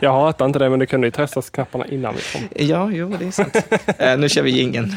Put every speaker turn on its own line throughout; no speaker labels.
Jag hatar inte det, men du kunde ju testas knapparna innan vi kom.
Ja, jo, det är sant. Eh, nu kör vi jingeln.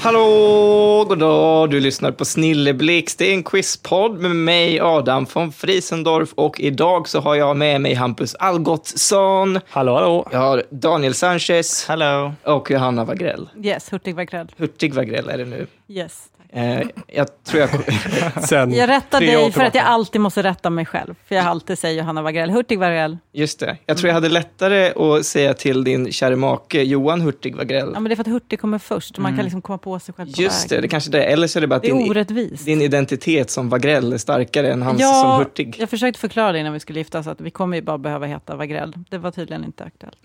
Hallå, goddag! Du lyssnar på Snilleblixt. Det är en quizpodd med mig, Adam von Friesendorf. Och idag så har jag med mig Hampus Algotsson,
Hallå, hallå!
jag har Daniel Sanchez
Hello.
och Johanna Wagrell.
Yes, Hurtig Wagrell.
Hurtig Wagrell är det nu.
Yes.
Eh, jag tror jag...
Sen
Mm.
Jag rättar
tre år
dig för att
tillbaka.
jag alltid måste rätta mig själv. För jag alltid säger Johanna Wagrell. Hurtig Wagrell.
Just det. Jag tror jag hade lättare att säga till din kära make Johan Hurtig Wagrell.
Ja, men det är för att Hurtig kommer först. Man kan liksom komma på sig själv på
Mm. Just det,
vägen.
det kanske det är. Eller så är det bara att
Det är
din,
orättvist.
din identitet som Wagrell är starkare än hans
Ja,
som Hurtig.
Jag försökte förklara det innan vi skulle gifta oss, att vi kommer ju bara behöva heta Wagrell. Det var tydligen inte aktuellt.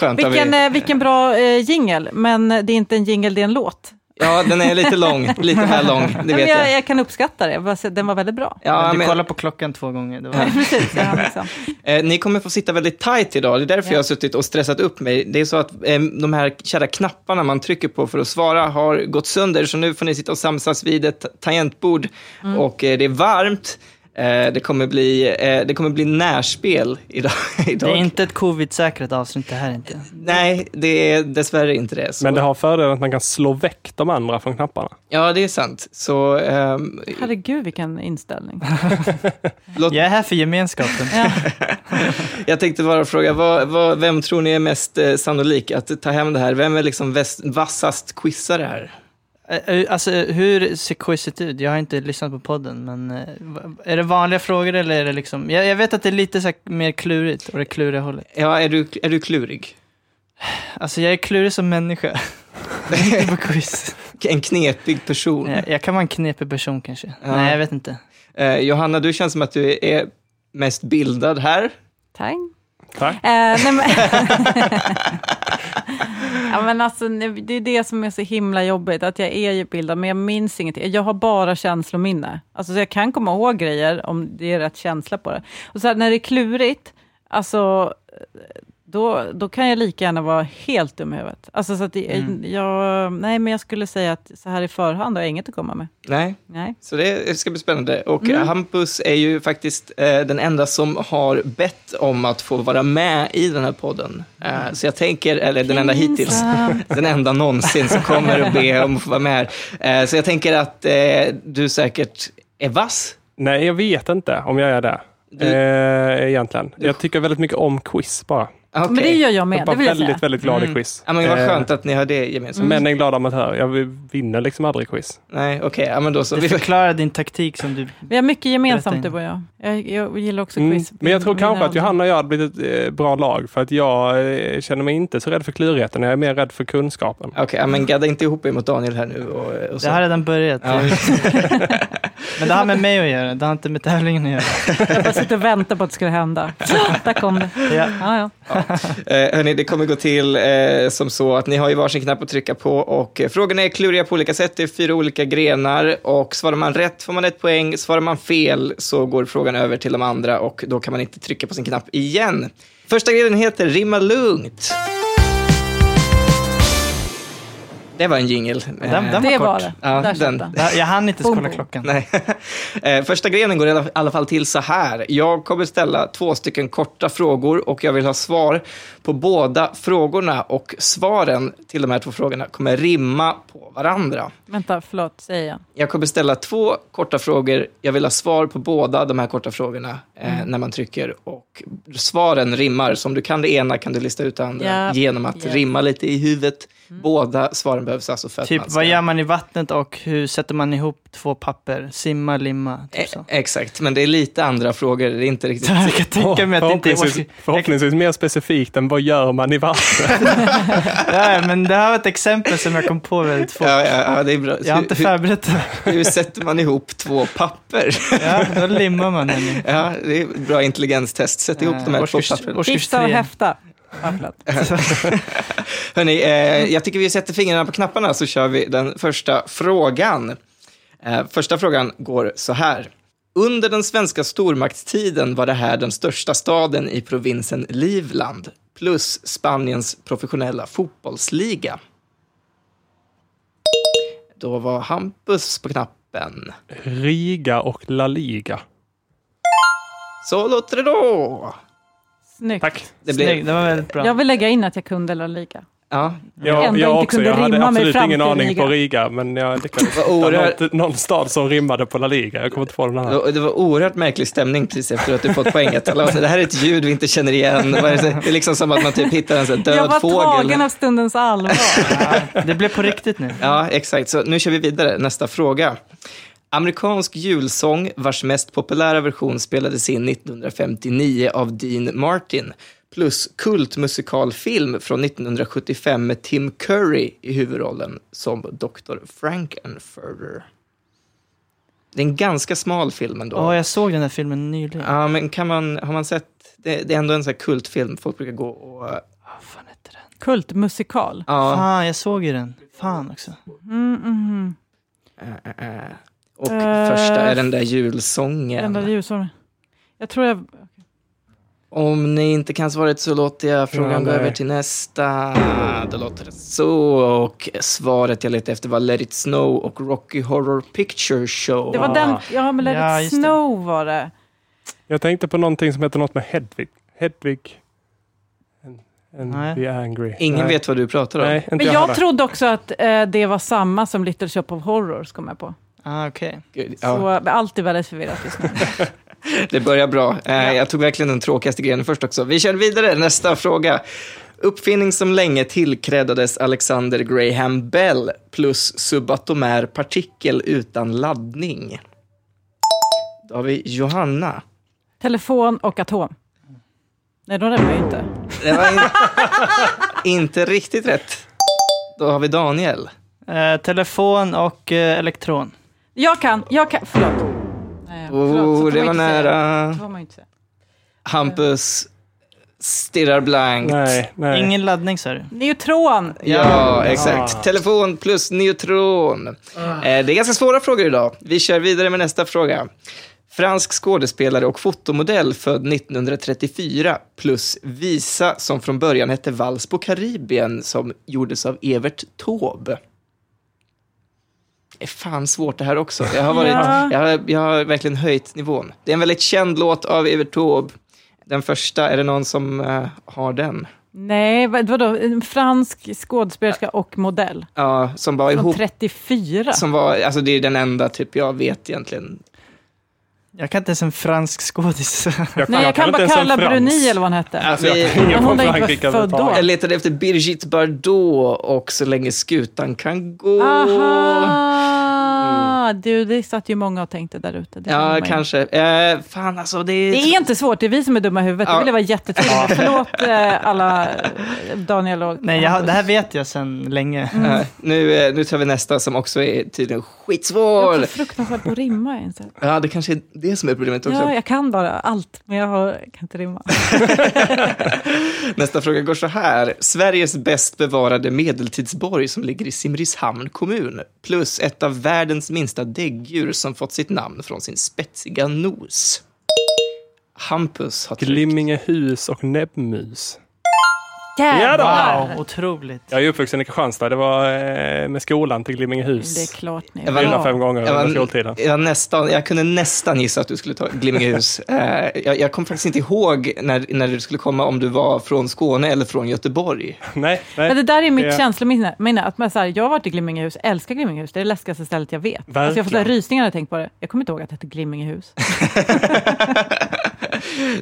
Skönt att
Vilken,
vi...
eh, vilken bra eh, jingel, men det är inte en jingel, det är en låt.
Ja, den är lite lång. Lite väl lång, det
Men
vet
jag,
jag.
jag kan uppskatta det, Bara se- den var väldigt bra.
Ja,
du
men,
kollar på klockan två gånger. Det var...
Precis, jag hann liksom.
eh, ni kommer få sitta väldigt tight idag. Det är därför
Ja.
jag har suttit och stressat upp mig. Det är så att eh, de här kära knapparna man trycker på för att svara har gått sönder. Så nu får ni sitta och samsas vid ett tangentbord.
Mm.
Och eh, det är varmt. Eh, det, kommer bli, eh, det kommer bli närspel idag.
Det
idag.
är inte ett covid-säkert avsnitt det här inte.
Nej, det är dessvärre inte det. Så.
Men det har fördelen att man kan slå väck de andra från knapparna.
Ja, det är sant. Så ehm,
Herregud, vilken inställning.
låt,
Jag är här för gemenskapen.
Ja.
jag tänkte bara fråga, vad, vad, vem tror ni är mest eh, sannolik att ta hem det här? Vem är liksom väst, vassast quizare här?
Eh, eh, Alltså hur ser quizet ut? Jag har inte lyssnat på podden men eh, va- är det vanliga frågor eller är det liksom? Jag, jag vet att det är lite så här, mer klurigt och det kluriga hållet.
Ja, är du, är du klurig?
Alltså jag är klurig som människa. inte på quiz.
En knepig person.
Jag, jag kan vara en knepig person kanske.
Ja.
Nej jag vet inte.
Eh, Johanna, du känns som att du är mest bildad här.
Tack.
Tack.
Eh, nej, men ja, men alltså, nej, det är det som är så himla jobbigt, att jag är ju bildad, men jag minns ingenting. Jag har bara känslominne. Alltså, så jag kan komma ihåg grejer om det är rätt känsla på det. Och så här, när det är klurigt, alltså, då, då kan jag lika gärna vara helt dum i huvudet. Alltså, så att det,
Mm.
jag, nej, men jag skulle säga att så här i förhand har jag inget att komma med.
Nej,
Nej.
så det ska bli spännande. Och
Mm.
eh, Hampus är ju faktiskt eh, den enda som har bett om att få vara med i den här podden. Eh, så jag tänker, eller den enda hittills.
Pinsamt.
Den enda någonsin som kommer att be om att få vara med här. Eh, Så jag tänker att eh, du säkert är vass.
Nej, jag vet inte om jag är det.
Du-
Eh, egentligen. Jag tycker väldigt mycket om quiz bara.
Ah, Okej.
Men det gör jag
Jag är
med, det
bara
vill jag
väldigt,
säga.
väldigt glad i
Mm.
quiz.
ja, men vad
Eh,
skönt att ni har det gemensamt.
Men en glad amatör. Jag vinner liksom aldrig quiz.
Nej, okej. Ja, men då så.
Du
Vi
förklarar din taktik som du...
Vi har mycket
Berätta
gemensamt
in.
du och jag. jag. Jag gillar också
Mm.
quiz.
Men jag tror
Vi-
kanske att
vi-
Johanna och jag hade blivit ett eh, bra lag för att jag eh, känner mig inte så rädd för klurigheten. Jag är mer rädd för kunskapen.
Okej, ja, men gadda inte ihop er mot Daniel här nu. Och, och
Det
så.
har redan börjat.
Ja.
Men det har med mig att göra, det har inte med tävlingen att göra.
Jag bara sitter och väntar på att det skulle hända. Där kom det.
Ja.
Ja, ja.
Eh, hörni, det kommer gå till eh, som så att ni har ju varsin knapp att trycka på och eh, frågorna är kluriga på olika sätt. Det är fyra olika grenar och svarar man rätt får man ett poäng. Svarar man fel så går frågan över till de andra och då kan man inte trycka på sin knapp igen. Första grenen heter Rimma lugnt. Det var en jingel.
Den- den-
Det
var
var
kort.
det.
Ja,
Där satt
den.
den.
Jag jag hann inte
Boom,
ens kolla
boom.
klockan.
Nej. Eh, Första grenen går i alla- alla fall till så här. Jag kommer ställa två stycken korta frågor och jag vill ha svar på båda frågorna. Och svaren till de här två frågorna kommer rimma på varandra.
Vänta, förlåt, säger jag.
Jag kommer ställa två korta frågor. Jag vill ha svar på båda de här korta frågorna eh,
Mm.
när man trycker. Och svaren rimmar. Så om du kan det ena kan du lista ut det andra
Ja.
genom att
Ja.
rimma lite i huvudet. Båda svaren behövs alltså för att
Mm. Typ,
man ska...
vad gör man i vattnet och hur sätter man ihop två papper? Simma, limma, typ så.
E- Exakt, men det är lite andra frågor. Det är inte riktigt
Jag kan tänka mig att det inte är
förhoppningsvis, förhoppningsvis mer specifikt än vad gör man i vattnet?
Ja, men det här var ett exempel som jag kom på väldigt fort.
Ja, ja, ja, det är bra.
Jag har inte
hur,
förberett det.
hur, hur sätter man ihop två papper?
Ja, då limmar man den.
Ja, det är ett bra intelligenstest. Sätt ihop de här
årskurs,
två papperna.
årskurs
Fixa och
tre.
häfta. Ja, förlåt.
Hörrni, eh, jag tycker vi sätter fingrarna på knapparna så kör vi den första frågan. Eh, Första frågan går så här. Under den svenska stormaktstiden var det här den största staden i provinsen Livland, plus Spaniens professionella fotbollsliga. Då var Hampus på knappen.
Riga och La Liga.
Så låter det då.
Snyggt.
Tack.
Det
Snygg, det var väldigt bra.
Jag vill lägga in att jag kunde La Liga.
Ja,
Jag
Jag,
ändå
jag
inte
också.
kunde
Jag hade
rimma mig
absolut
fram
ingen
till
aning
Riga.
på Riga, men jag lyckades hitta
oerhört-
något, någon stad som rimmade på La Liga. Jag kommer inte på den här.
det var oerhört märklig stämning precis efter att du fått poänget. Alla var så här, Det här är ett ljud vi inte känner igen. Vad är det som- Det är liksom som att man typ hittar en sån här död
jag var
fågel.
tagen av stundens allvar.
Ja, det blev på riktigt nu.
Ja, exakt. Så nu kör vi vidare. Nästa fråga. Amerikansk julsång vars mest populära version spelades in 1959 av Dean Martin plus kultmusikalfilm från 1975 med Tim Curry i huvudrollen som Dr. Frankenfurter. Det är en ganska smal film ändå.
Åh, jag såg den där filmen nyligen.
Ja, men kan man, har man sett, det, det är ändå en sån här kultfilm, folk brukar gå och...
Vad fan hette den?
Kultmusikal.
Ja,
Fan, jag såg ju den. Fan också.
Mm, mm, mm.
eh, eh. och
Eh,
första är den där
Den där
julsången.
ljusormen. Jag tror jag...
Om ni inte kan svaret så låter jag frågan
Ja,
gå
nej.
över till nästa. Då låter det så. Och svaret jag letade efter var Let It Snow och Rocky Horror Picture Show.
Det var den... Ja, men Let
Ja,
it
just det.
snow var det.
Jag tänkte på någonting som heter något med Hedvig. Hedvig and, and
Nej.
the Angry.
Ingen
Nej.
vet vad du pratar om.
Nej, inte
Men
jag
jag
heller.
trodde också att eh, det var samma som Little Shop of Horrors, kom jag på.
Ah, okej.
Gud, ja.
Så men allt är väldigt förvirrat just nu.
Det börjar bra. Eh, Jag tog verkligen den tråkigaste grenen först också. Vi kör vidare, nästa fråga. Uppfinning som länge tillkrädades Alexander Graham Bell plus subatomär partikel utan laddning. Då har vi Johanna.
Telefon och atom. Nej, de rämnar ju inte.
Det var in- inte riktigt rätt. Då har vi Daniel.
Eh, telefon och eh, elektron.
Jag kan, jag kan. Förlåt. Nej, förlåt, så
Oh,
får
det
man
var
inte säga.
nära.
Så får man ju inte säga.
Hampus stirrar blankt.
Nej, nej.
Ingen laddning sa du?
Neutron.
Ja, exakt.
Ah.
Telefon plus neutron. Eh, Det är ganska svåra frågor idag. Vi kör vidare med nästa fråga. Fransk skådespelare och fotomodell född 1934 plus Visa som från början hette Vals på Karibien som gjordes av Evert Taube. Det är fan svårt det här också. Jag har, varit,
Ja.
jag, har, jag har verkligen höjt nivån. Det är en väldigt känd låt av Evert Taube. Den första, är det någon som eh, har den?
Nej, vad- vadå? En fransk skådespelerska och modell.
Ja, som var
Från
ihop
34.
Som var, alltså det är den enda typ jag vet egentligen.
Jag kan inte ens en fransk skådis.
Nej, jag kan
inte
bara
ens en
kalla
frans.
Bruni eller vad han hette.
Alltså, jag,
Ingen
Men hon
från
är inte
Frankrike
född då.
jag
överhuvudtaget.
letade efter Brigitte Bardot och Så länge skutan kan gå.
Aha! Du, det satt ju många och tänkte där ute. Det känner man
Mm. Ja,
ju.
kanske. Eh, fan alltså, det är...
Det är inte svårt, det är vi som är dumma i huvudet.
Ja.
Det vill jag vara jättetydlig med. Förlåt eh, alla eh, Daniel och...
Nej, jag, har- det här vet jag sedan länge.
Eh, nu, eh, nu tar vi nästa som också är tydligen
Jag är
skitsvår.
också fruktansvärt på att rimma. ens.
Ja, det kanske är det som är problemet också.
Ja, jag kan bara allt, men jag har, kan inte rimma.
Nästa fråga går så här. Sveriges bäst bevarade medeltidsborg som ligger i Simrishamn kommun plus ett av världens minsta däggdjur som fått sitt namn från sin spetsiga nos. Hampus har tryckt.
Glimmingehus och Näbbmus.
Jävlar!
Wow, otroligt.
Jag är uppvuxen i Kristianstad. Det var eh, med skolan till
Det är
Glimmingehus.
klart ni
Jag var-
Fyra,
bra.
fem gånger
Jag,
under skoltiden.
var, jag, nästan, jag kunde nästan gissa att du skulle ta Glimmingehus. Eh, jag, jag kommer faktiskt inte ihåg när, när du skulle komma, om du var från Skåne eller från Göteborg.
Nej,
Men det
nej.
där är mitt
Det-
känslominne. minne, Att man, så här, jag har varit i Glimmingehus, älskar Glimmingehus. Det är det läskigaste stället jag vet. Alltså, jag får så här
Verkligen.
rysningar när jag tänker på det. Jag kommer inte ihåg att det hette Glimmingehus.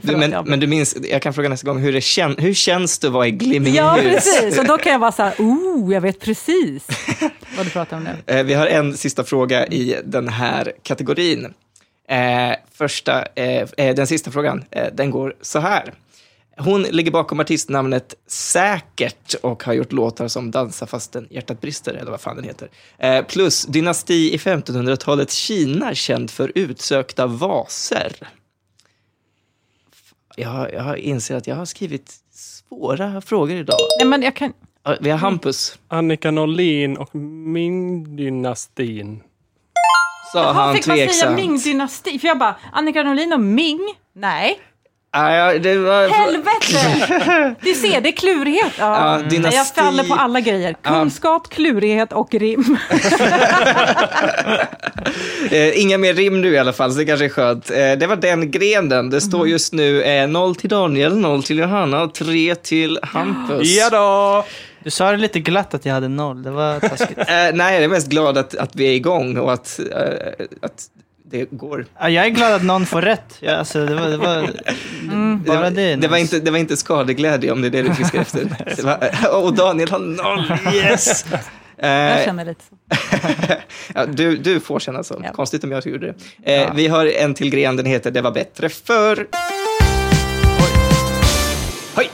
Du, men, men du minns, jag kan fråga nästa gång, hur, det kän, hur känns det att vara i Glimmingehus?
ja, precis. Och då kan jag vara så här, oh, jag vet precis vad du pratar om nu.
Eh, Vi har en sista fråga i den här kategorin. Eh, första, eh, eh, den sista frågan, eh, den går så här. Hon ligger bakom artistnamnet Säkert och har gjort låtar som Dansa fastän hjärtat brister, eller vad fan den heter. Eh, plus Dynasti i 1500-talets Kina, känd för utsökta vaser. Jag, jag inser att jag har skrivit svåra frågor idag.
Nej, men jag kan...
Eh, Vi har Hampus.
Annika Norlin och Min dynastin.
sa
Jaha,
han
fick man säga
tveksamt.
Ming-dynasti? För jag bara, Annika Norlin och Ming? Nej.
Ja, ja, det var...
Helvete! Du ser, det är klurighet. Ja.
Alltså- Ja, dynasti-
Jag faller på alla grejer. Kunskap, klurighet och rim.
Eh, inga mer rim nu i alla fall, så det kanske är skönt. Eh, det var den grenen. Det
Mhm.
står just nu eh, 0 till Daniel, 0 till Johanna och 3 till Hampus.
Ja då.
Du sa det lite glatt att jag hade noll, det var taskigt.
Eh, nej, jag är mest glad att, att vi är igång och att, eh, att det går.
Ja, jag är glad att någon får rätt. Ja, alltså, det var, det var,
Det
Bara
var,
det är
Mm. det, var
nice.
inte, det var inte skadeglädje om det är det du fiskar efter. Det var, och Daniel har noll, yes!
Jag
Eh,
känner lite så.
ja, du, du får känna så.
Ja.
Konstigt om jag gjorde det. Eh, Vi har en till gren, den heter Det var bättre förr. Hoj!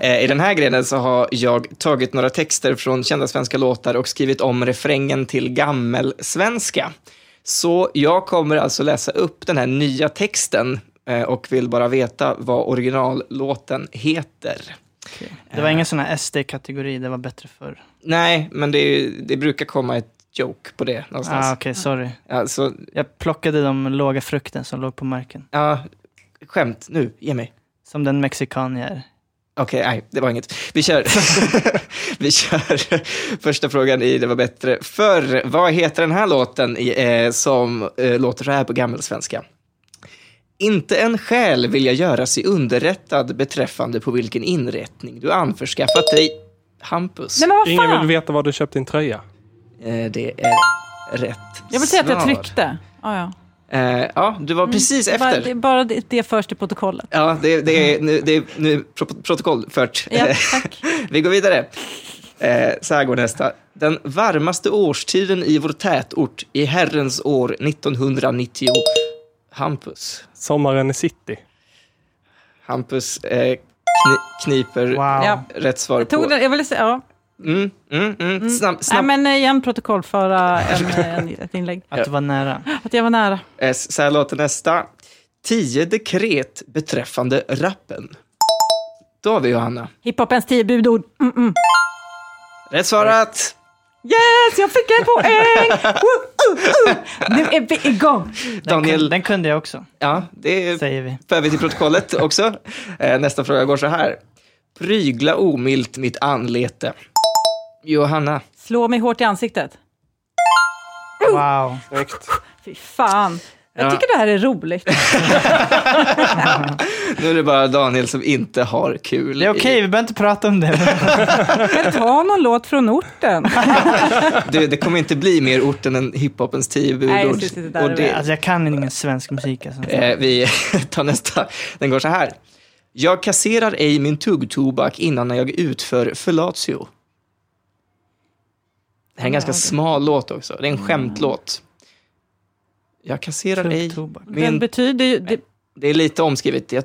Eh, I den här grenen så har jag tagit några texter från kända svenska låtar och skrivit om refrängen till gammelsvenska. Så jag kommer alltså läsa upp den här nya texten eh, och vill bara veta vad originallåten heter.
det var ingen sån här SD-kategori, det var bättre förr.
Nej, men det, är ju- det brukar komma ett joke på det någonstans.
Ah, Okej, sorry.
Ja, så,
Jag plockade de låga frukten som låg på marken.
ja, skämt, nu, ge mig.
Som den mexikan jag är.
Okej, nej, det var inget. Vi kör. Vi kör första frågan i Det var bättre förr. Vad heter den här låten i, eh, som eh, låter så här på gammelsvenska? Inte en själ vill jag göra sig underrättad beträffande på vilken inrättning du anförskaffat dig. Hampus.
Nej men vad
Ingen vill
fan!
veta var du köpte din tröja.
Eh, det är rätt
Jag vill säga att jag
svar.
tryckte. Ah, ja.
Eh, ja, du
Mm.
var precis
Bara,
efter.
det, bara det, det förs till protokollet.
Ja, det, det är nu, det är nu pro- protokoll fört.
Ja, tack.
Vi går vidare. Eh, så här går nästa. Den varmaste årstiden i vår tätort i herrens år 1990. Hampus.
Sommaren i city.
Hampus eh, kni, kniper
Wow.
Ja.
rätt svar
Jag tog
på.
den, jag ville säga, ja.
Mm, mm, mm. Snabb,
Nej
snabb.
men eh, igen protokollföra en, eh, en, ett inlägg.
Att du var nära.
Att jag var nära.
Eh, så här låter nästa. Tio dekret beträffande rappen. Då har vi Johanna.
Hiphopens tio budord. Mm -mm.
Rätt svarat.
Yes, jag fick en poäng! Woo, uh, uh. Nu är vi igång!
Den, kun,
Daniel,
den kunde jag också,
ja, det är
säger vi.
för vi till protokollet också. Eh, nästa fråga går så här. Prygla omilt mitt anlete. Johanna.
Slå mig hårt i ansiktet.
Wow.
Snyggt.
Fy fan. Jag
Ja.
tycker det här är roligt.
Nu är det bara Daniel som inte har kul.
Det är okej, vi behöver inte prata om det.
Men ta någon låt från orten.
Det, det kommer inte bli mer orten än hiphopens tio
Nej,
budord.
precis, det där
Och
är
det-
Alltså, jag kan ingen svensk musik. Alltså.
eh, Vi tar nästa. Den går så här. Jag kasserar ej min tuggtobak innan jag utför fellatio. Det här är en ganska smal låt också. Det är en skämtlåt. Jag kasserar ej...
Mm. Tuggtobak.
Det
Min...
betyder ju... Det,
Det är lite omskrivet. Jag...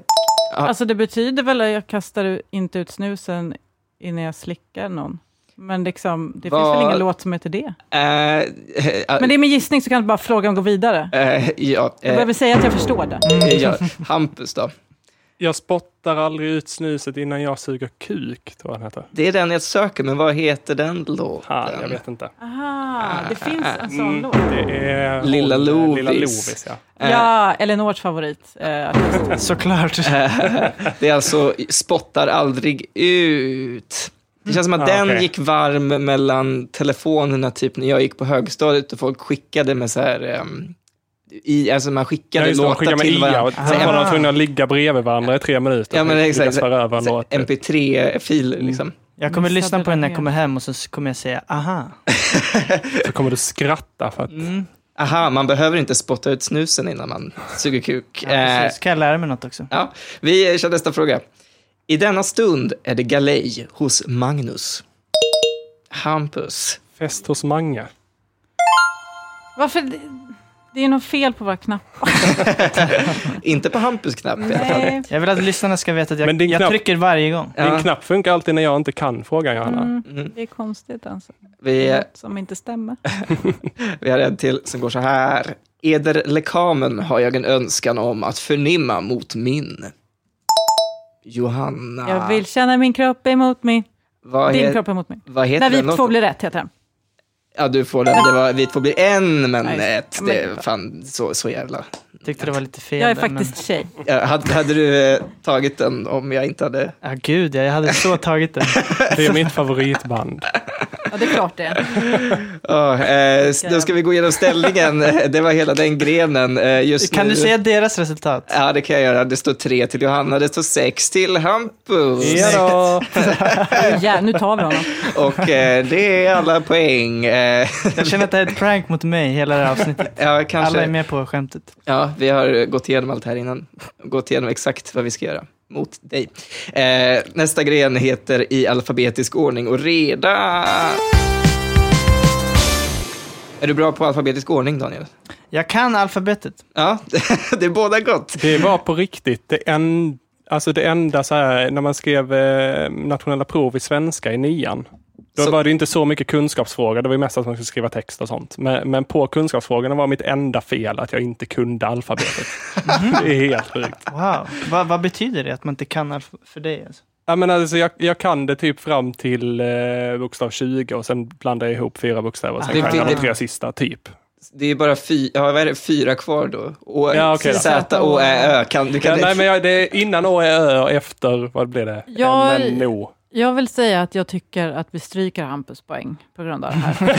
Ja.
alltså det betyder väl att jag kastar u- inte ut snusen innan jag slickar någon. Men liksom, det
Vad-
finns väl ingen låt som heter det.
Eh, eh,
Men det är med gissning så kan bara frågan gå vidare.
eh, ja,
Jag
eh,
behöver säga att jag förstår det.
ja, Hampus då.
Jag spottar aldrig ut snuset innan jag suger kuk, tror jag den heter.
Det är den jag söker, men vad heter den låten?
Ha, jag vet inte.
Aha, det finns en sån
Mm,
låt.
det är
Lilla
hon,
Lovis.
Lilla Lovis ja.
Eh,
Ja, Elinors favorit. Eh, artist.
Såklart.
Eh. Det är alltså Spottar aldrig ut. Det känns som att
Ah,
den
okej.
gick varm mellan telefonerna typ när jag gick på högstadiet och folk skickade med så här... ehm, i, alltså man
Ja,
skickade
just det, de
låtar
skickar med
till
ia och
varandra.
sen var de tvungna att ligga bredvid varandra i tre minuter.
Ja, men
för att
exakt.
lyckas föra över en låt.
MP3-filer
Mm.
liksom.
Jag kommer
Missade
lyssna på den när
det.
jag kommer hem och så s- kommer jag säga aha.
Så kommer du skratta för att
Mm.
Aha, man behöver inte spotta ut snusen innan man suger kuk.
Ja,
Eh,
precis. Kan jag lära mig något också?
Ja, vi kör nästa fråga. I denna stund är det galej hos Magnus. Hampus.
fest hos Mange.
Varför? Det, det är något fel på våra knappar.
Inte på Hampus knapp i alla fall.
Nej.
Jag vill att lyssnarna ska veta att jag,
Men din
jag
knapp-
trycker varje gång.
Din
Ja,
knapp funkar alltid när jag inte kan frågan Johanna.
Det är konstigt alltså.
vi,
Något som inte stämmer.
vi har en till som går så här. Eder lekamen har jag en önskan om att förnimma mot min. Johanna.
Jag vill känna min kropp emot mig.
vad,
Din
he,
kropp emot mig.
vad heter
När vi
den
två
låten?
blir rätt heter den.
Ja, du får den. Det var, vi två blir en, men
Nej,
ett.
men-
Det, fan, så, så jävla...
Tyckte det var lite fel.
Jag är
där,
faktiskt tjej.
Ja, hade, hade du eh, tagit den om jag inte hade...
Men... Ja, gud, jag hade så tagit den.
Det är mitt favoritband.
Ja, det är klart det.
Ja, eh, s- då ska vi gå igenom ställningen. Det var hela den grenen. Eh, just
Kan
nu.
du säga deras resultat?
Ja, det kan jag göra. Det står tre till Johanna, det står sex till Hampus.
Ja då.
Oh, ja, nu tar vi honom.
Och eh, det är alla poäng. Eh,
Jag känner att det här är ett prank mot mig, hela det här avsnittet.
ja, kanske.
Alla är med på skämtet.
Ja, vi har gått igenom allt här innan. Gått igenom exakt vad vi ska göra mot dig. Eh, nästa gren heter i alfabetisk ordning och reda. Är du bra på alfabetisk ordning, Daniel?
Jag kan alfabetet.
Ja, det är båda gott.
Det var på riktigt det, en, alltså det enda så här, när man skrev eh, nationella prov i svenska i nian. Då
Så-
var det ju inte så mycket kunskapsfrågor, det var ju mest att man skulle skriva text och sånt. Men, men på kunskapsfrågorna var mitt enda fel att jag inte kunde alfabetet. Det är helt sjukt.
Wow. Va, vad betyder det att man inte kan alfabetet för dig? Alltså?
Ja, men alltså, jag, jag kan det typ fram till eh, bokstav 20 och sen blandar jag ihop fyra bokstäver och sen
Det-
kan jag
det-
de tre sista, typ.
Det är bara fy, ja, vad är det, fyra kvar då. Å,
Ja, okej då.
Z, Å, Ä, Ö. Kan, du
Ja,
kan
nej, men jag, det är innan Å, Ä, Ö och efter, vad blev det?
Jag-
M, N, O.
Jag vill säga att jag tycker att vi stryker Hampus poäng på grund av det här.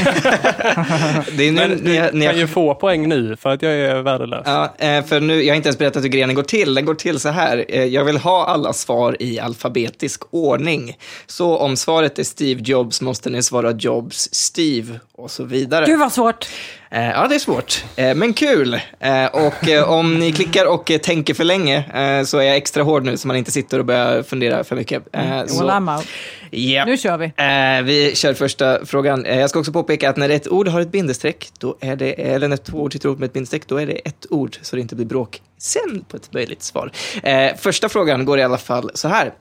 det är nu,
Men
ni,
du
har- ni,
kan ju
har-
få poäng nu för att jag är värdelös.
ja, eh, för nu, jag har inte ens berättat hur grenen går till. Den går till så här. Eh, Jag vill ha alla svar i alfabetisk ordning. Så om svaret är Steve Jobs måste ni svara Jobs Steve och så vidare.
Gud vad svårt!
Eh, ja, det är svårt, eh, men kul. Eh, och eh, om ni klickar och eh, tänker för länge eh, så är jag extra hård nu så man inte sitter och börjar fundera för mycket. Eh,
Well,
så,
I'm out.
Ja.
Nu kör vi.
Eh, vi kör första frågan. Eh, jag ska också påpeka att när ett ord har ett bindestreck, då är det, eller när två ord sitter ihop med ett bindestreck, då är det ett ord så det inte blir bråk sen på ett möjligt svar. Eh, första frågan går i alla fall så här.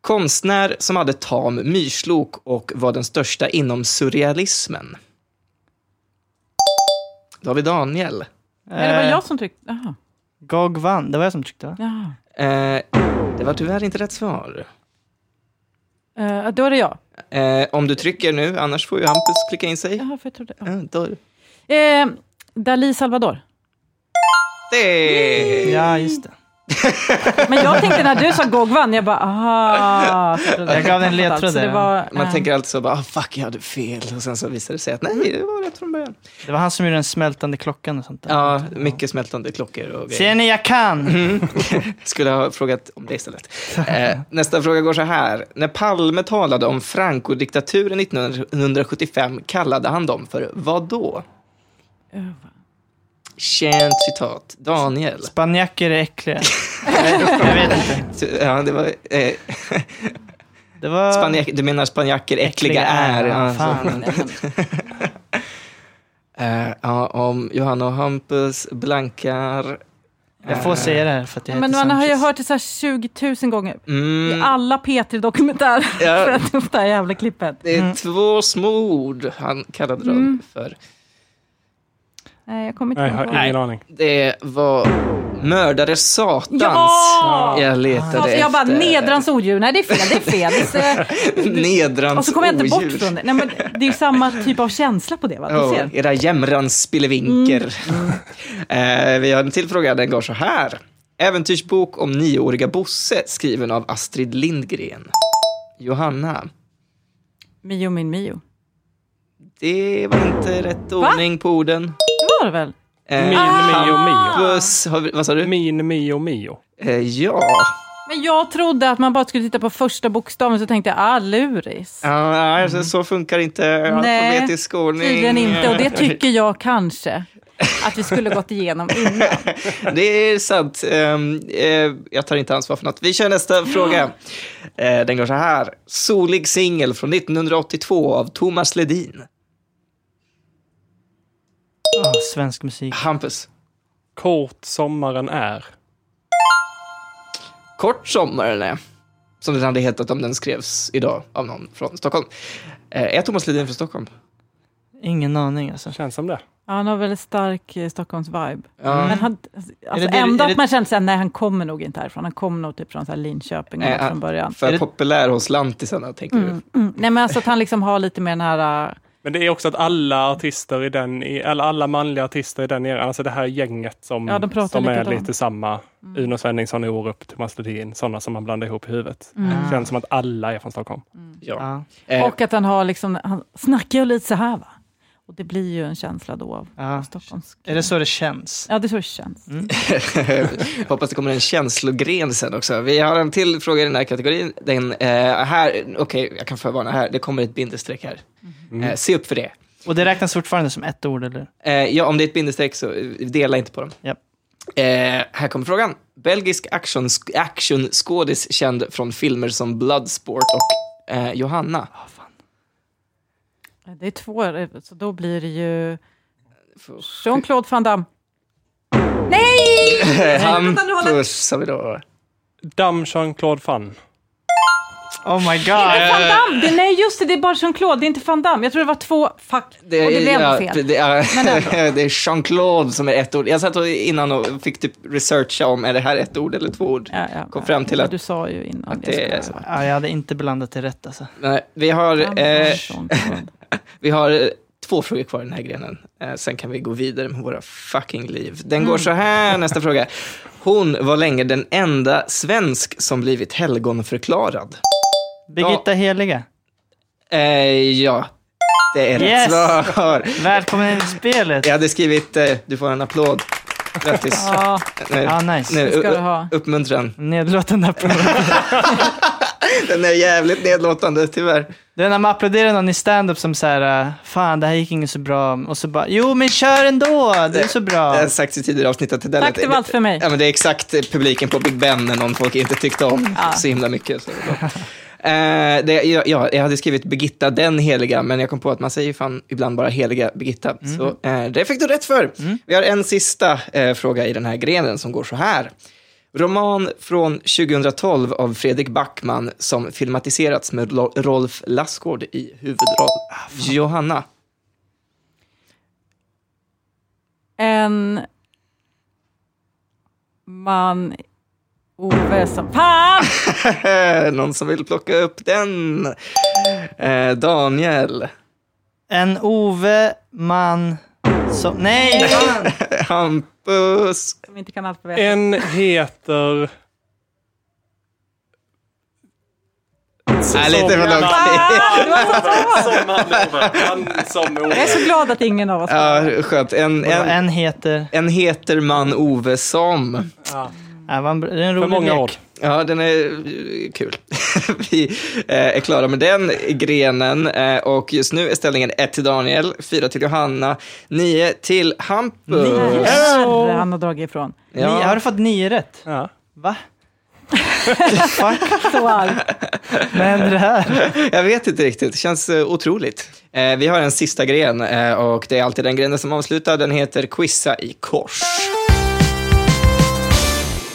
Konstnär som hade tam myrslok och var den största inom surrealismen. Då har vi Daniel.
Nej, det var
Eh,
jag som tryckte. Jaha.
Gog vann. Det var jag som tryckte va?
Jaha.
Eh, det var tyvärr inte rätt svar.
Eh, då är det jag.
Eh, om du trycker nu, annars får ju Hampus klicka in sig.
Jaha, för jag trodde...
Eh, då,
Eh, Dali Salvador.
det.
Ja, just det.
Men jag tänkte när du sa Gogvan, jag bara aha. Så trodde
Jag gav dig en
fattat allt.
ledtråd
Så
där,
det
ja.
var,
Man
eh,
tänker alltid så bara, ah, fuck jag hade fel. Och sen så visar det sig att nej, det var rätt från början.
Det var han som gjorde den smältande klockan och sånt där.
Ja, Mm. mycket smältande klockor och
Ser
grejer.
ni, jag kan!
Skulle ha frågat om det istället. Eh, nästa fråga går så här. När Palme talade om Franco-diktaturen 1975 kallade han dem för vad då?
eh,
Känt citat. Daniel.
Spanjacker är äckliga. jag vet inte.
Ja, det var, eh,
Det var...
spanjack, du menar spanjacker äckliga är. Ja, så.
Fan.
Eh, ja, om Johanna och Hampus blankar.
Jag får säga det här för att jag
Men
heter
man har ju
Sanchez.
hört det så här 20 000 gånger.
Mm.
I alla P3-dokumentärer
Ja.
för att ta upp det här jävla klippet.
Det är två små ord han kallade dem
Mm.
för.
Nej, jag kommer
Nej,
inte
jag har
ihåg.
ingen aning.
Det var mördare satans.
Ja!
Jag letade
Ja, för jag bara,
efter.
nedrans odjur. Nej, det är fel. Det är fel. Så,
Nedrans
och så kommer jag inte
odjur.
bort från det. Nej, men det är ju samma typ av känsla på det, va? Du
Ja,
ser. Mm.
era jämrans spillevinker. Eh, vi har en till fråga, den går så här. Äventyrsbok om nioåriga Bosse skriven av Astrid Lindgren. Johanna,
Mio min Mio.
det var inte rätt ordning på orden.
Det var det väl?
Eh,
Min, Mio, Mio.
Hampus, har vi- vad sa du?
Min, Mio, Mio.
Eh, ja,
Men jag trodde att man bara skulle titta på första bokstaven, så tänkte jag, ah, luris.
Ah, alltså, så funkar inte
Mm. Nej,
alfabetisk ordning.
Tydligen inte, och det tycker jag kanske att vi skulle gått igenom innan.
Det är sant. Ehm, eh, jag tar inte ansvar för något. Vi kör nästa fråga. Eh, den går så här. Solig singel från 1982 av Thomas Ledin.
Ah, svensk musik.
Hampus.
Kort sommaren är.
Kort sommar eller? Som den hade hetat om den skrevs idag av någon från Stockholm. Eh, är Thomas Ledin från Stockholm?
Ingen aning alltså.
Känns som det.
Ja, han har väldigt stark eh, Stockholms-vibe.
Ja.
Men han, alltså,
det-
ändå
är det-
att man kände såhär, nej han kommer nog inte härifrån. Han kommer nog typ från såhär Linköping
Nej,
eller något
han-
från början.
För
Är det-
populär hos lantisarna, tänker du?
Mm. Nej men alltså att han liksom har lite mer den här, äh,
Men det är också att alla artister i den, i- eller alla manliga artister i den eran, alltså det här gänget som,
Ja, de pratar Mm.
som är
likadant.
lite samma. Uno Svenningsson, Orup, Thomas Ledin, sådana som man blandar ihop i huvudet.
Mm.
Det känns som att alla är från Stockholm.
Ja.
Ja.
Eh,
Och att han har liksom, han snackar ju lite så här va. Och det blir ju en känsla då av
Ja.
Stockholms...
Är det så det känns?
Ja, det är så det känns.
Mm. Hoppas det kommer en känslogren sen också. Vi har en till fråga i den här kategorin. Den, eh, här, okej, jag kan förvarna här. Det kommer ett bindestreck här.
Mm.
Eh, se upp för det.
Och det räknas fortfarande som ett ord, eller?
Eh, ja, om det är ett bindestreck så eh, dela inte på dem.
Japp.
Eh, här kommer frågan. Belgisk action- actionskådis känd från filmer som Bloodsport och eh, Johanna.
Det är två, så då blir det ju Jean-Claude Van Damme. Nej!
Hampus har Eh, vi då.
Dam Jean-Claude Fan.
Oh my
Det är
god!
Van Damme! Det, nej, just det, det är bara Jean-Claude, det är inte Van Damme. Jag tror det var två, fuck.
Det,
och det blev
ja,
ändå fel.
Det, är, det är Jean-Claude som är ett ord. Jag satt och- innan och fick typ researcha om, är det här ett ord eller två ord?
Ja, ja,
kom
ja.
fram till
Ja,
att-
Du sa ju innan.
att
jag
det
skulle-
är så.
Ja, jag hade inte blandat det rätt alltså.
Nej, vi har,
Van
eh,
Damme, Jean-Claude.
vi har eh, två frågor kvar i den här grenen. Eh, sen kan vi gå vidare med våra fucking liv. Den
Mm.
går så här, nästa fråga. Hon var länge den enda svensk som blivit helgonförklarad.
Birgitta Heliga,
Eh, ja, det är
Yes!
rätt svar.
välkommen in i spelet!
Jag hade skrivit, eh, du får en applåd. Grattis.
Ja,
Nu,
Ah, nice.
nu,
det ska
u-
du ha.
Uppmuntran.
Nedlåtande applåd.
Den är jävligt nedlåtande, tyvärr.
Det är när man applåderar någon i stand-up som så här, äh, fan det här gick inte så bra, och så bara, jo men kör ändå, det är så
Det har
bra.
jag sagt i tidigare avsnitt att det där
Tack,
lät-
det var allt för mig.
Ja, men det är exakt eh, publiken på Big Ben när någon folk inte tyckte om
Ja.
så himla mycket. Så det var bra. Eh, det, ja, ja, jag hade skrivit Birgitta den heliga, men jag kom på att man säger ju fan ibland bara heliga Birgitta. Så eh, det fick du rätt för. Vi har en sista eh, fråga i den här grenen som går så här. Roman från 2012 av Fredrik Backman som filmatiserats med Lo- Rolf Lassgård i huvudroll. Johanna.
en man... Ove som... Fan!
Eh, Någon som vill plocka upp den? Eh, Daniel.
En Ove man som, nej! Fan.
Hampus.
Som inte kan alfabetet.
En heter...
Nej, lite för långt.
Ah, det var så svårt.
Som han lovar. Han som
Jag är så glad att ingen av oss
Ja, skönt. En,
Och
en,
en heter,
en heter man Ove som.
ja, Äh, vad en br- det är en
För
rolig
många
lek.
ord.
Ja, den är eh, kul. Vi eh, är klara med den grenen eh, och just nu är ställningen 1 till Daniel, 4 till Johanna, 9 till Hampus.
Nej, herre, han har dragit ifrån.
Ni, har
Ja.
du fått nio rätt?
Ja.
Va? Fuck,
Så arg.
vad händer här?
Jag vet inte riktigt, det känns eh, otroligt. Eh, Vi har en sista gren eh, och det är alltid den grenen som avslutar. Den heter Quizza i kors.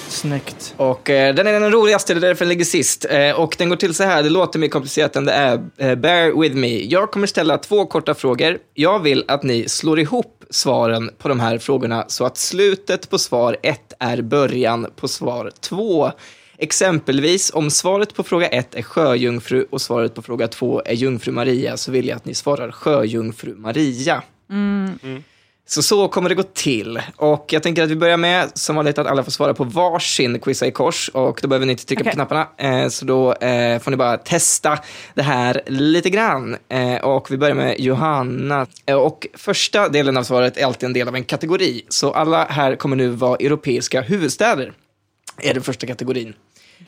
Snyggt.
Och eh, den är den roligaste, det är därför den ligger sist. Eh, och den går till så här, det låter mer komplicerat än det är. Eh, bear with me. Jag kommer ställa två korta frågor. Jag vill att ni slår ihop svaren på de här frågorna så att slutet på svar 1 är början på svar 2. Exempelvis om svaret på fråga 1 är sjöjungfru och svaret på fråga 2 är jungfru Maria så vill jag att ni svarar sjöjungfru Maria.
Mm,
Så så kommer det gå till. Och jag tänker att vi börjar med, som vanligt, att alla får svara på varsin Quizza i kors. Och då behöver ni inte trycka
Okej.
på knapparna. Eh, så då eh, får ni bara testa det här lite grann. Eh, och vi börjar med Johanna. Eh, och första delen av svaret är alltid en del av en kategori. Så alla här kommer nu vara europeiska huvudstäder. Är den första kategorin.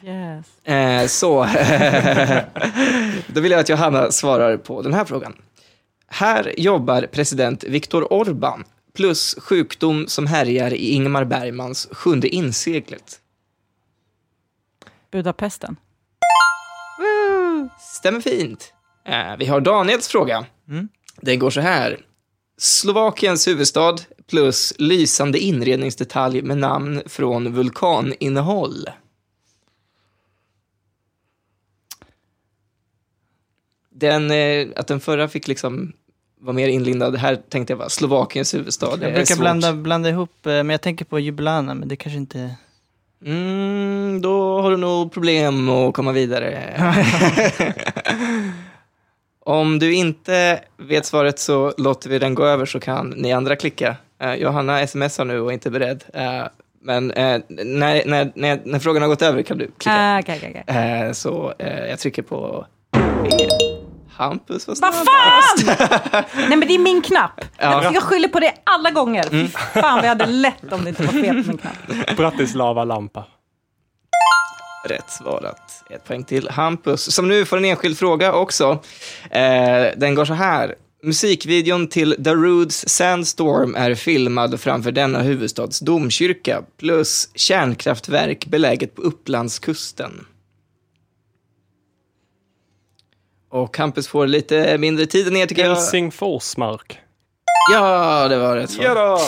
Yes.
Eh, så, då vill jag att Johanna svarar på den här frågan. Här jobbar president Viktor Orbán plus sjukdom som härjar i Ingmar Bergmans sjunde inseglet.
Budapesten.
Stämmer fint. Eh, vi har Daniels fråga.
Mm.
Den går så här. Slovakiens huvudstad plus lysande inredningsdetalj med namn från vulkaninnehåll. Den, eh, att den förra fick liksom vara mer inlindad. Här tänkte jag bara Slovakiens huvudstad. Det är
Jag brukar
svårt.
blanda, blanda ihop, eh, men jag tänker på Jublana, men det kanske inte...
Mm, då har du nog problem att komma vidare. Om du inte vet svaret så låter vi den gå över så kan ni andra klicka. Eh, Johanna smsar nu och är inte beredd. Eh, men eh, när, när, när, när frågan har gått över kan du klicka.
Ah, okay, okay, okay.
Eh, så eh, jag trycker på Hampus var
Vad
snabb.
fan! Nej men det är min knapp.
Ja.
Jag, jag skyller på det alla gånger. Fy Fan vi hade lätt om det inte var fel på min knapp.
Bratislava-lampa.
Rätt svarat. Ett poäng till Hampus, som nu får en enskild fråga också. Eh, den går så här. Musikvideon till The Roods Sandstorm är filmad framför denna huvudstads domkyrka plus kärnkraftverk beläget på Upplandskusten. Och Hampus får lite mindre tid än er tycker jag.
Helsingforsmark.
Ja, det var rätt svar.
då!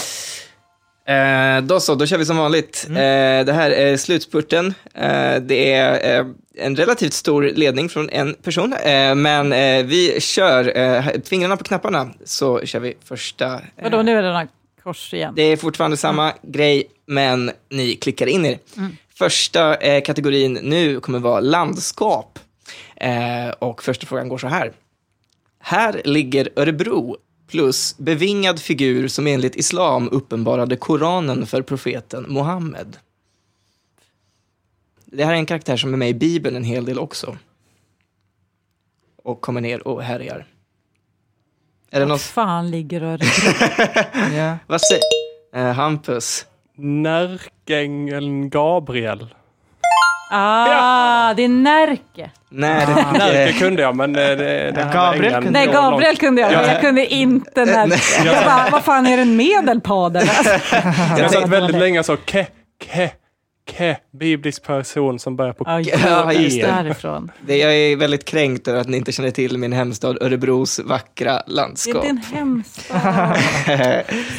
Eh, då så, då kör vi som vanligt. Eh, det här är slutspurten. Eh, det är eh, en relativt stor ledning från en person, eh, men eh, vi kör eh, fingrarna på knapparna så kör vi första. Eh,
Vadå, nu är det några kors igen.
Det är fortfarande samma grej, men ni klickar in er. Första eh, kategorin nu kommer vara landskap. Eh, och första frågan går så här. Här ligger Örebro plus bevingad figur som enligt islam uppenbarade Koranen för profeten Mohammed. Det här är en karaktär som är med i Bibeln en hel del också. Och kommer ner och härjar. Är det
Vart
något?
fan ligger Örebro?
Ja.
Vad säger eh, Hampus?
Närkängeln Gabriel.
Ah, det är Närke.
Nej,
Ah.
Närke kunde jag, men eh, det, det här med
Gabriel
England
Nej,
går långt.
Gabriel kunde jag, men jag kunde inte Närke. Jag bara, vad fan är det en medelpad eller?
Jag satt
tänkte-
väldigt länge och sa ke, ke, ke, biblisk person som börjar på
Ja,
Ja, just
just
det.
därifrån.
Det, jag är väldigt kränkt över att ni inte känner till min hemstad Örebros vackra
Det är
landskap.
din hemstad.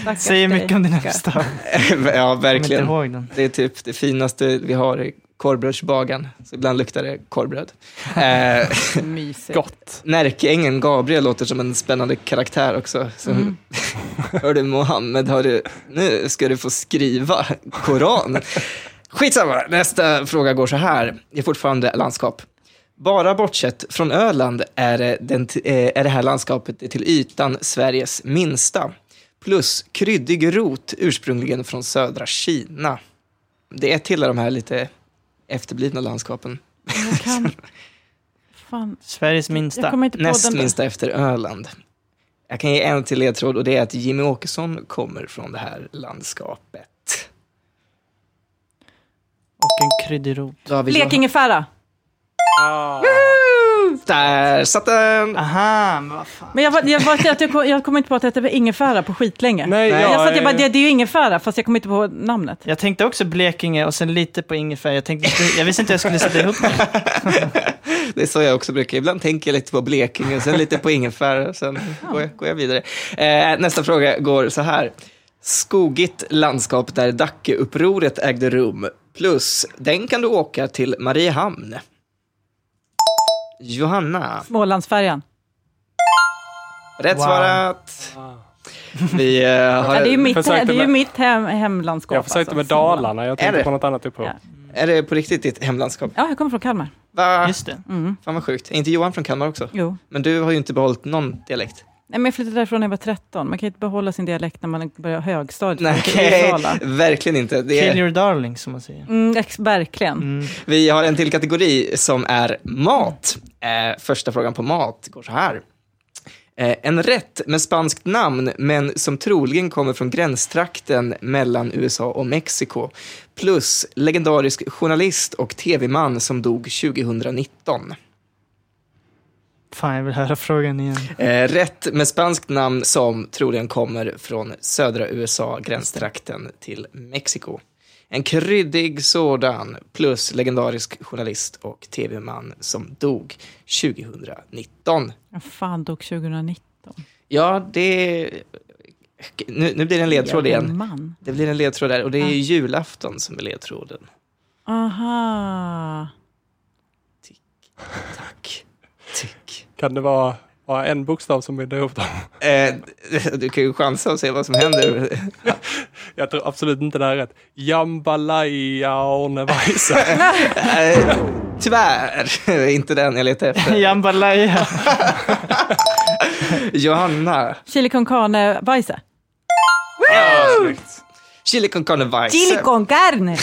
Stackars
Säger mycket
dig.
om din hemstad.
ja,
Jag kommer inte
verkligen.
ihåg den.
Det är typ det finaste vi har i korvbrödsbagan. Så ibland luktar det korvbröd. Eh,
Mysigt.
gott.
Närkeängeln Gabriel låter som en spännande karaktär också. Så, hör du Mohammed, hör du, nu ska du få skriva Koranen. Skitsamma, nästa fråga går så här. Det är fortfarande landskap. Bara bortsett från Öland är, det den, t- eh, är det här landskapet till ytan Sveriges minsta. Plus kryddig rot ursprungligen från södra Kina. Det är ett till av de här lite efterblivna landskapen.
Jag kan... Fan.
Sveriges
Jag
minsta.
kommer inte på
Näst
den.
minsta efter Öland. Jag kan ge en till ledtråd och det är att Jimmy Åkesson kommer från det här landskapet.
Och en kryddig rot.
Då har vi
Blekingefära.
Där satt den!
Aha, men vad fan.
Men jag, var, jag, var, jag, kom, jag kom inte på att det hette ingefära på skitlänge.
Nej,
Nej.
jag,
Jag satt jag bara,
eh,
det, det är ju ingefära, fast jag kom inte på namnet.
Jag tänkte också Blekinge och sen lite på ingefära. Jag, tänkte, jag visste inte jag skulle sätta ihop det.
Det är så jag också brukar. Ibland tänker jag lite på Blekinge, sen lite på ingefära, sen går jag, går jag vidare. Eh, nästa fråga går så här. Skogigt landskap där Dackeupproret ägde rum. Plus, den kan du åka till Mariehamn. Johanna.
Smålandsfärjan.
Rätt
Wow.
svarat. Vi eh, har...
Ja, det är ju mitt,
försökte
he- det är ju
med-
mitt hem, hemlandskap.
jag försökte
alltså.
med Dalarna, jag
Är det?
tänkte på något annat typ uppror.
Ja.
Är det på riktigt ditt hemlandskap?
Ja, jag kommer från Kalmar.
Va?
Just det.
Mm.
Fan vad sjukt. Är inte Johan från Kalmar också?
Jo.
Men du har ju inte behållit någon dialekt.
Nej, men jag flyttade därifrån när jag var 13. Man kan ju inte behålla sin dialekt när man börjar högstadiet.
Nej, verkligen inte. Det
Kill
är,
your darling, som man säger.
Mm, ex- verkligen.
Mm.
vi har en till kategori som är mat. Eh, första frågan på mat går så här. Eh, en rätt med spanskt namn, men som troligen kommer från gränstrakten mellan USA och Mexiko. Plus legendarisk journalist och tv-man som dog 2019.
Fan, jag vill höra frågan igen.
Eh, rätt med spanskt namn som troligen kommer från södra USA, gränstrakten till Mexiko. En kryddig sådan, plus legendarisk journalist och tv-man som dog 2019.
Ja, Fan, dog 2019.
Ja, det... Nu, nu blir det en ledtråd igen.
Man.
Det blir en ledtråd där, och det är ju julafton som är ledtråden.
Aha.
Tack. Tick.
Kan det vara Ja, en bokstav som binder ihop dem.
Eh, du kan ju chansa och se vad som händer.
Jag tror absolut inte det här är rätt. Jambalaya Ornevaisa.
Eh, tyvärr, inte den jag letar efter.
Jambalaya.
Johanna.
Chili con carne-bajse.
Chili con carne vice.
Chili con carne!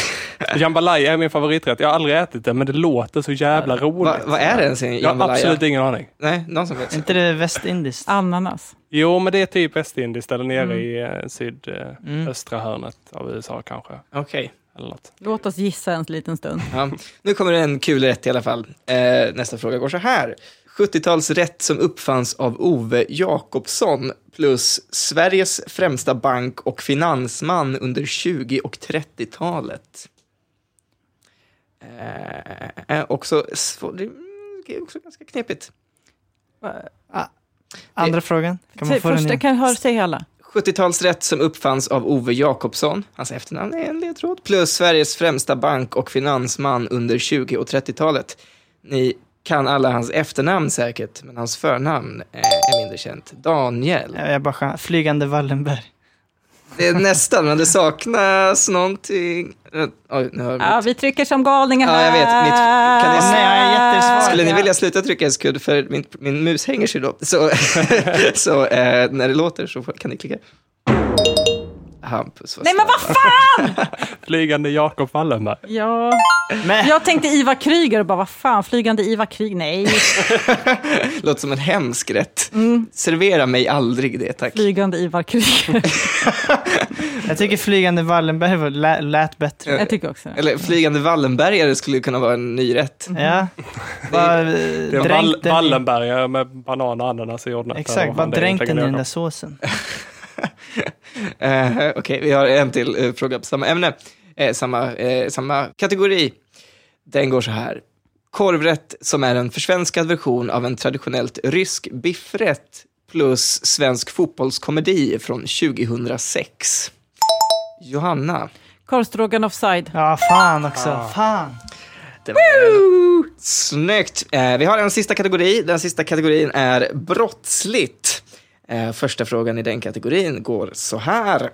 Jambalaya är min favoriträtt. Jag har aldrig ätit det, men det låter så jävla roligt.
Va, vad är det ens i
Jag har
jambalaya?
absolut ingen aning.
Nej, någon som vet.
inte det västindiskt?
Ananas.
Jo, men det är typ västindiskt eller nere
Mm.
i eh, sydöstra hörnet av USA kanske.
Okej.
Eller något.
Låt oss gissa en liten stund.
Ja. Nu kommer det en kul rätt i alla fall. Eh, nästa fråga går så här. 70-talsrätt som uppfanns av Ove Jakobsson plus Sveriges främsta bank och finansman under 20 och 30-talet. Eh, Eh, också svår, det är också ganska knepigt.
Andra frågan? Kan man
Säg
få den
första,
igen?
kan jag höra sig hela?
70-talsrätt som uppfanns av Ove Jakobsson, hans efternamn är en ledtråd, plus Sveriges främsta bank och finansman under 20 och 30-talet. Ni kan alla hans efternamn säkert, men hans förnamn eh, är mindre känt. Daniel.
Ja, Jag bara chansar. Flygande Wallenberg.
Det är nästan, men det saknas någonting. Eh, Oj, nu hör
Ja,
jag
vi trycker som galningar
Ja, jag vet. Mitt- kan ni-
Nej, jag är jättesvag.
skulle ni vilja sluta trycka en skudd för min, min mus hänger sig då? Så, så eh, när det låter så får- kan ni klicka. Hampus, vad
Nej, men
snäll.
vad fan!
Flygande Jakob Wallenberg.
Ja.
Men
Jag tänkte Ivar Kryger och bara, vad fan, flygande Ivar Kryger, nej,
Låter som en hemsk rätt. Servera mig aldrig det, tack.
Mm, flygande Ivar Kryger.
jag tycker Flygande Wallenberg var, lä- lät bättre.
Jag tycker också det.
Eller flygande Wallenbergare skulle kunna vara en ny rätt.
Ja. Bara, eh,
Det är
dränk
Wall-
den-
Wallenbergare med banan och ananas i jordnötter.
Exakt, bara dränk den i den där såsen.
Eh, Okej, vi har en till eh, fråga på samma ämne. Eh, samma, eh, samma kategori. Den går så här. Korvrätt som är en försvenskad version av en traditionellt rysk biffrätt plus svensk fotbollskomedi från 2006. Johanna.
Korvstrågan offside.
Ja, fan också. Fan.
Det var den. Snyggt! Eh, vi har en sista kategori. Den sista kategorin är brottsligt. Eh, första frågan i den kategorin går så här.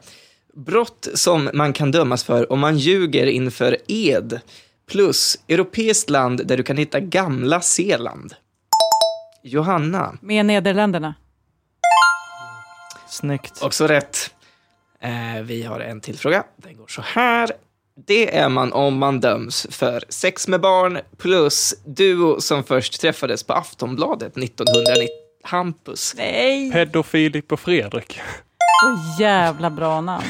Brott som man kan dömas för om man ljuger inför ed. Plus europeiskt land där du kan hitta Gamla Zeeland. Johanna,
Med Nederländerna.
Snyggt.
också rätt. Eh, vi har en till fråga. Den går så här. Det är man om man döms för sex med barn plus duo som först träffades på Aftonbladet 1990. Hampus.
Nej,
Peddo, Filip och Fredrik.
så jävla bra namn.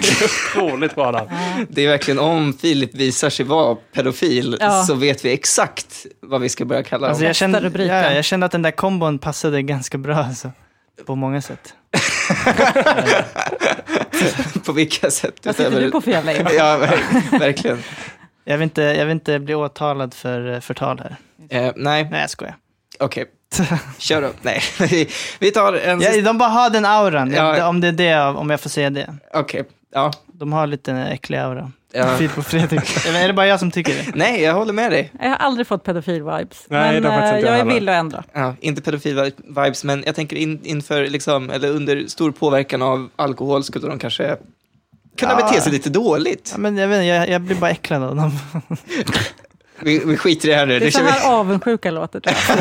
Otroligt bra namn.
Det är verkligen om Filip visar sig vara pedofil
Ja.
så vet vi exakt vad vi ska börja kalla
Alltså
honom.
jag, kände,
rubriken.
ja, jag kände att den där kombon passade ganska bra alltså. På många sätt.
På vilka sätt?
Vad sitter
utöver-
du på för jävla in?
Ja, ver- verkligen.
Jag vill inte, jag vill inte bli åtalad för eh, förtal här.
Eh, nej,
Nej, jag
alltså.
skojar.
okej. Kör då. Nej, vi tar en
Ja,
sista.
de bara har den auran,
Alltså- Ja.
om det är det, om jag får säga det.
Okej, ja.
De har lite äcklig aura.
ja.
Filip och Fredrik. Eller är det bara jag som tycker det?
Nej, jag håller med dig.
Jag har aldrig fått pedofil-vibes,
Nej,
men
det har faktiskt
eh,
inte jag
jag är
heller.
villig att ändra.
Ja, inte pedofil-vibes, men jag tänker in, inför, liksom, eller under stor påverkan av alkohol skulle de kanske kunna
Ja.
bete sig lite dåligt.
Ja, men jag, vet, inte, jag, jag blir bara äcklad av dem.
Vi, vi skiter i det här nu.
Det är
Det
så
kör vi,
här avundsjuka låter, tror jag.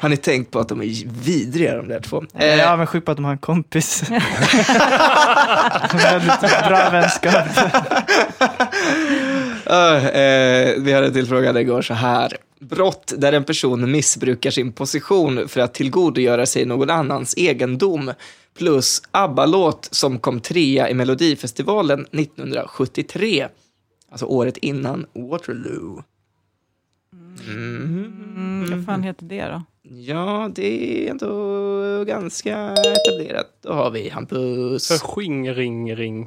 har ni tänkt på att de är vidriga de där två?
Jag är avundsjuk på att de har en kompis. Väldigt bra vänskap.
Eh, eh, vi har en till fråga, den går så här. Brott där en person missbrukar sin position för att tillgodogöra sig någon annans egendom. Plus ABBA-låt som kom trea i Melodifestivalen 1973. Alltså året innan Waterloo.
Mm, vad fan heter det då?
Ja, det är ändå ganska etablerat. Då har vi Hampus.
Förskingring ring, ring.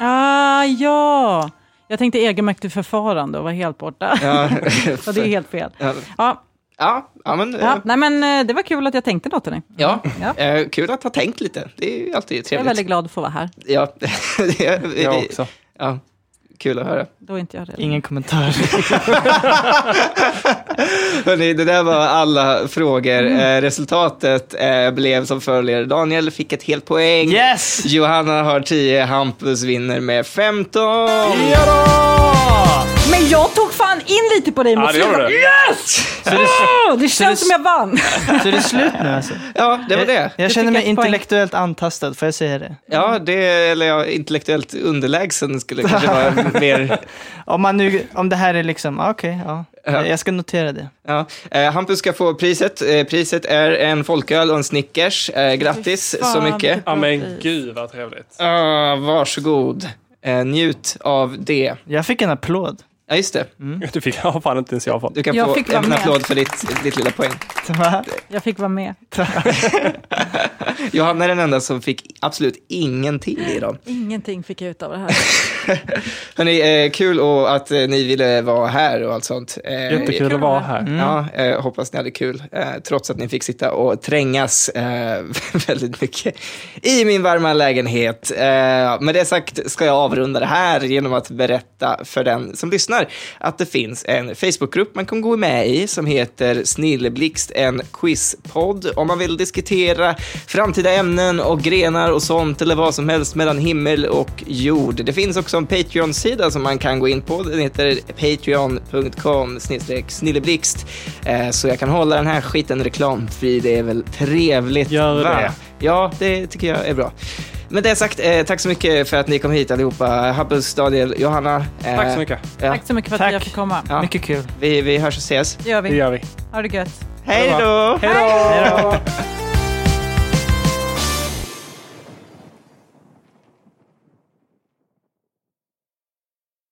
Ah, ja! Jag tänkte egenmäktigt förfarande och var helt borta.
Ja,
Och det är helt fel.
ja,
Ja,
ja, ja, men, eh,
ja, nej, men eh, det var kul att jag tänkte något. hörni.
ja.
Ja.
Eh, kul att ha tänkt lite. Det är ju alltid
Jag är
trevligt.
väldigt glad att få vara här.
Ja, det är,
Jag också.
Ja. Kul att höra.
Då är inte jag redo.
Ingen kommentar.
Hörrni, det där var alla frågor. Eh, resultatet eh, blev som följer. Daniel fick ett helt poäng.
Yes!
Johanna har 10, Hampus vinner med 15.
Men jag tog fan in lite på dig
Ja,
mot
det gjorde
slutet.
du.
Så det,
Åh, det känns som jag vann.
så det är slut nu alltså?
Ja, det var det.
Jag
fick
känner mig
ett poäng.
intellektuellt antastad, får jag säga det?
Ja, det, eller ja, intellektuellt underlägsen skulle kanske vara mer.
Om, man nu, om det här är liksom, ah, okej, ja.
Ja.
Jag ska notera det.
Ja. Eh, Hampus ska få priset. Eh, priset är en folköl och en Snickers. Eh, grattis
Fy fan,
så mycket.
vilket
Ja,
bra
men
pris.
gud vad trevligt.
Ah, varsågod. Eh, njut av det.
Jag fick en applåd.
Ja, just det.
Du fick ja, fan inte ens jag fått.
Du kan
Jag
få
fick vara
en
med.
applåd för ditt, ditt lilla poäng.
Va?
Jag fick vara med.
Johanna är den enda som fick absolut ingenting i dem.
Ingenting fick jag ut av det här.
Hörrni, eh, kul och att eh, ni ville vara här och allt sånt. Eh,
Jättekul att vara här.
Ja, eh, hoppas ni hade kul, eh, trots att ni fick sitta och trängas eh, väldigt mycket i min varma lägenhet. Eh, med det sagt ska jag avrunda det här genom att berätta för den som lyssnar att det finns en Facebookgrupp man kan gå med i som heter Snilleblixt, en quizpodd. Om man vill diskutera framtida ämnen och grenar och sånt eller vad som helst mellan himmel och jord. Det finns också en Patreon-sida som man kan gå in på. Den heter patreon.com snilleblixt. Eh, Så jag kan hålla den här skiten reklamfri. Det är väl trevligt?
Gör det.
Ja, det tycker jag är bra. Med det sagt, eh, tack så mycket för att ni kom hit allihopa. Hampus, Daniel, Johanna. eh,
Tack så mycket.
Ja,
Tack så mycket för att
Tack.
jag fick komma.
Ja.
Mycket kul.
vi, vi hörs och ses.
Det gör
Det
vi.
gör vi.
Ha det gött.
Hej då!
Hej då!
Hej då!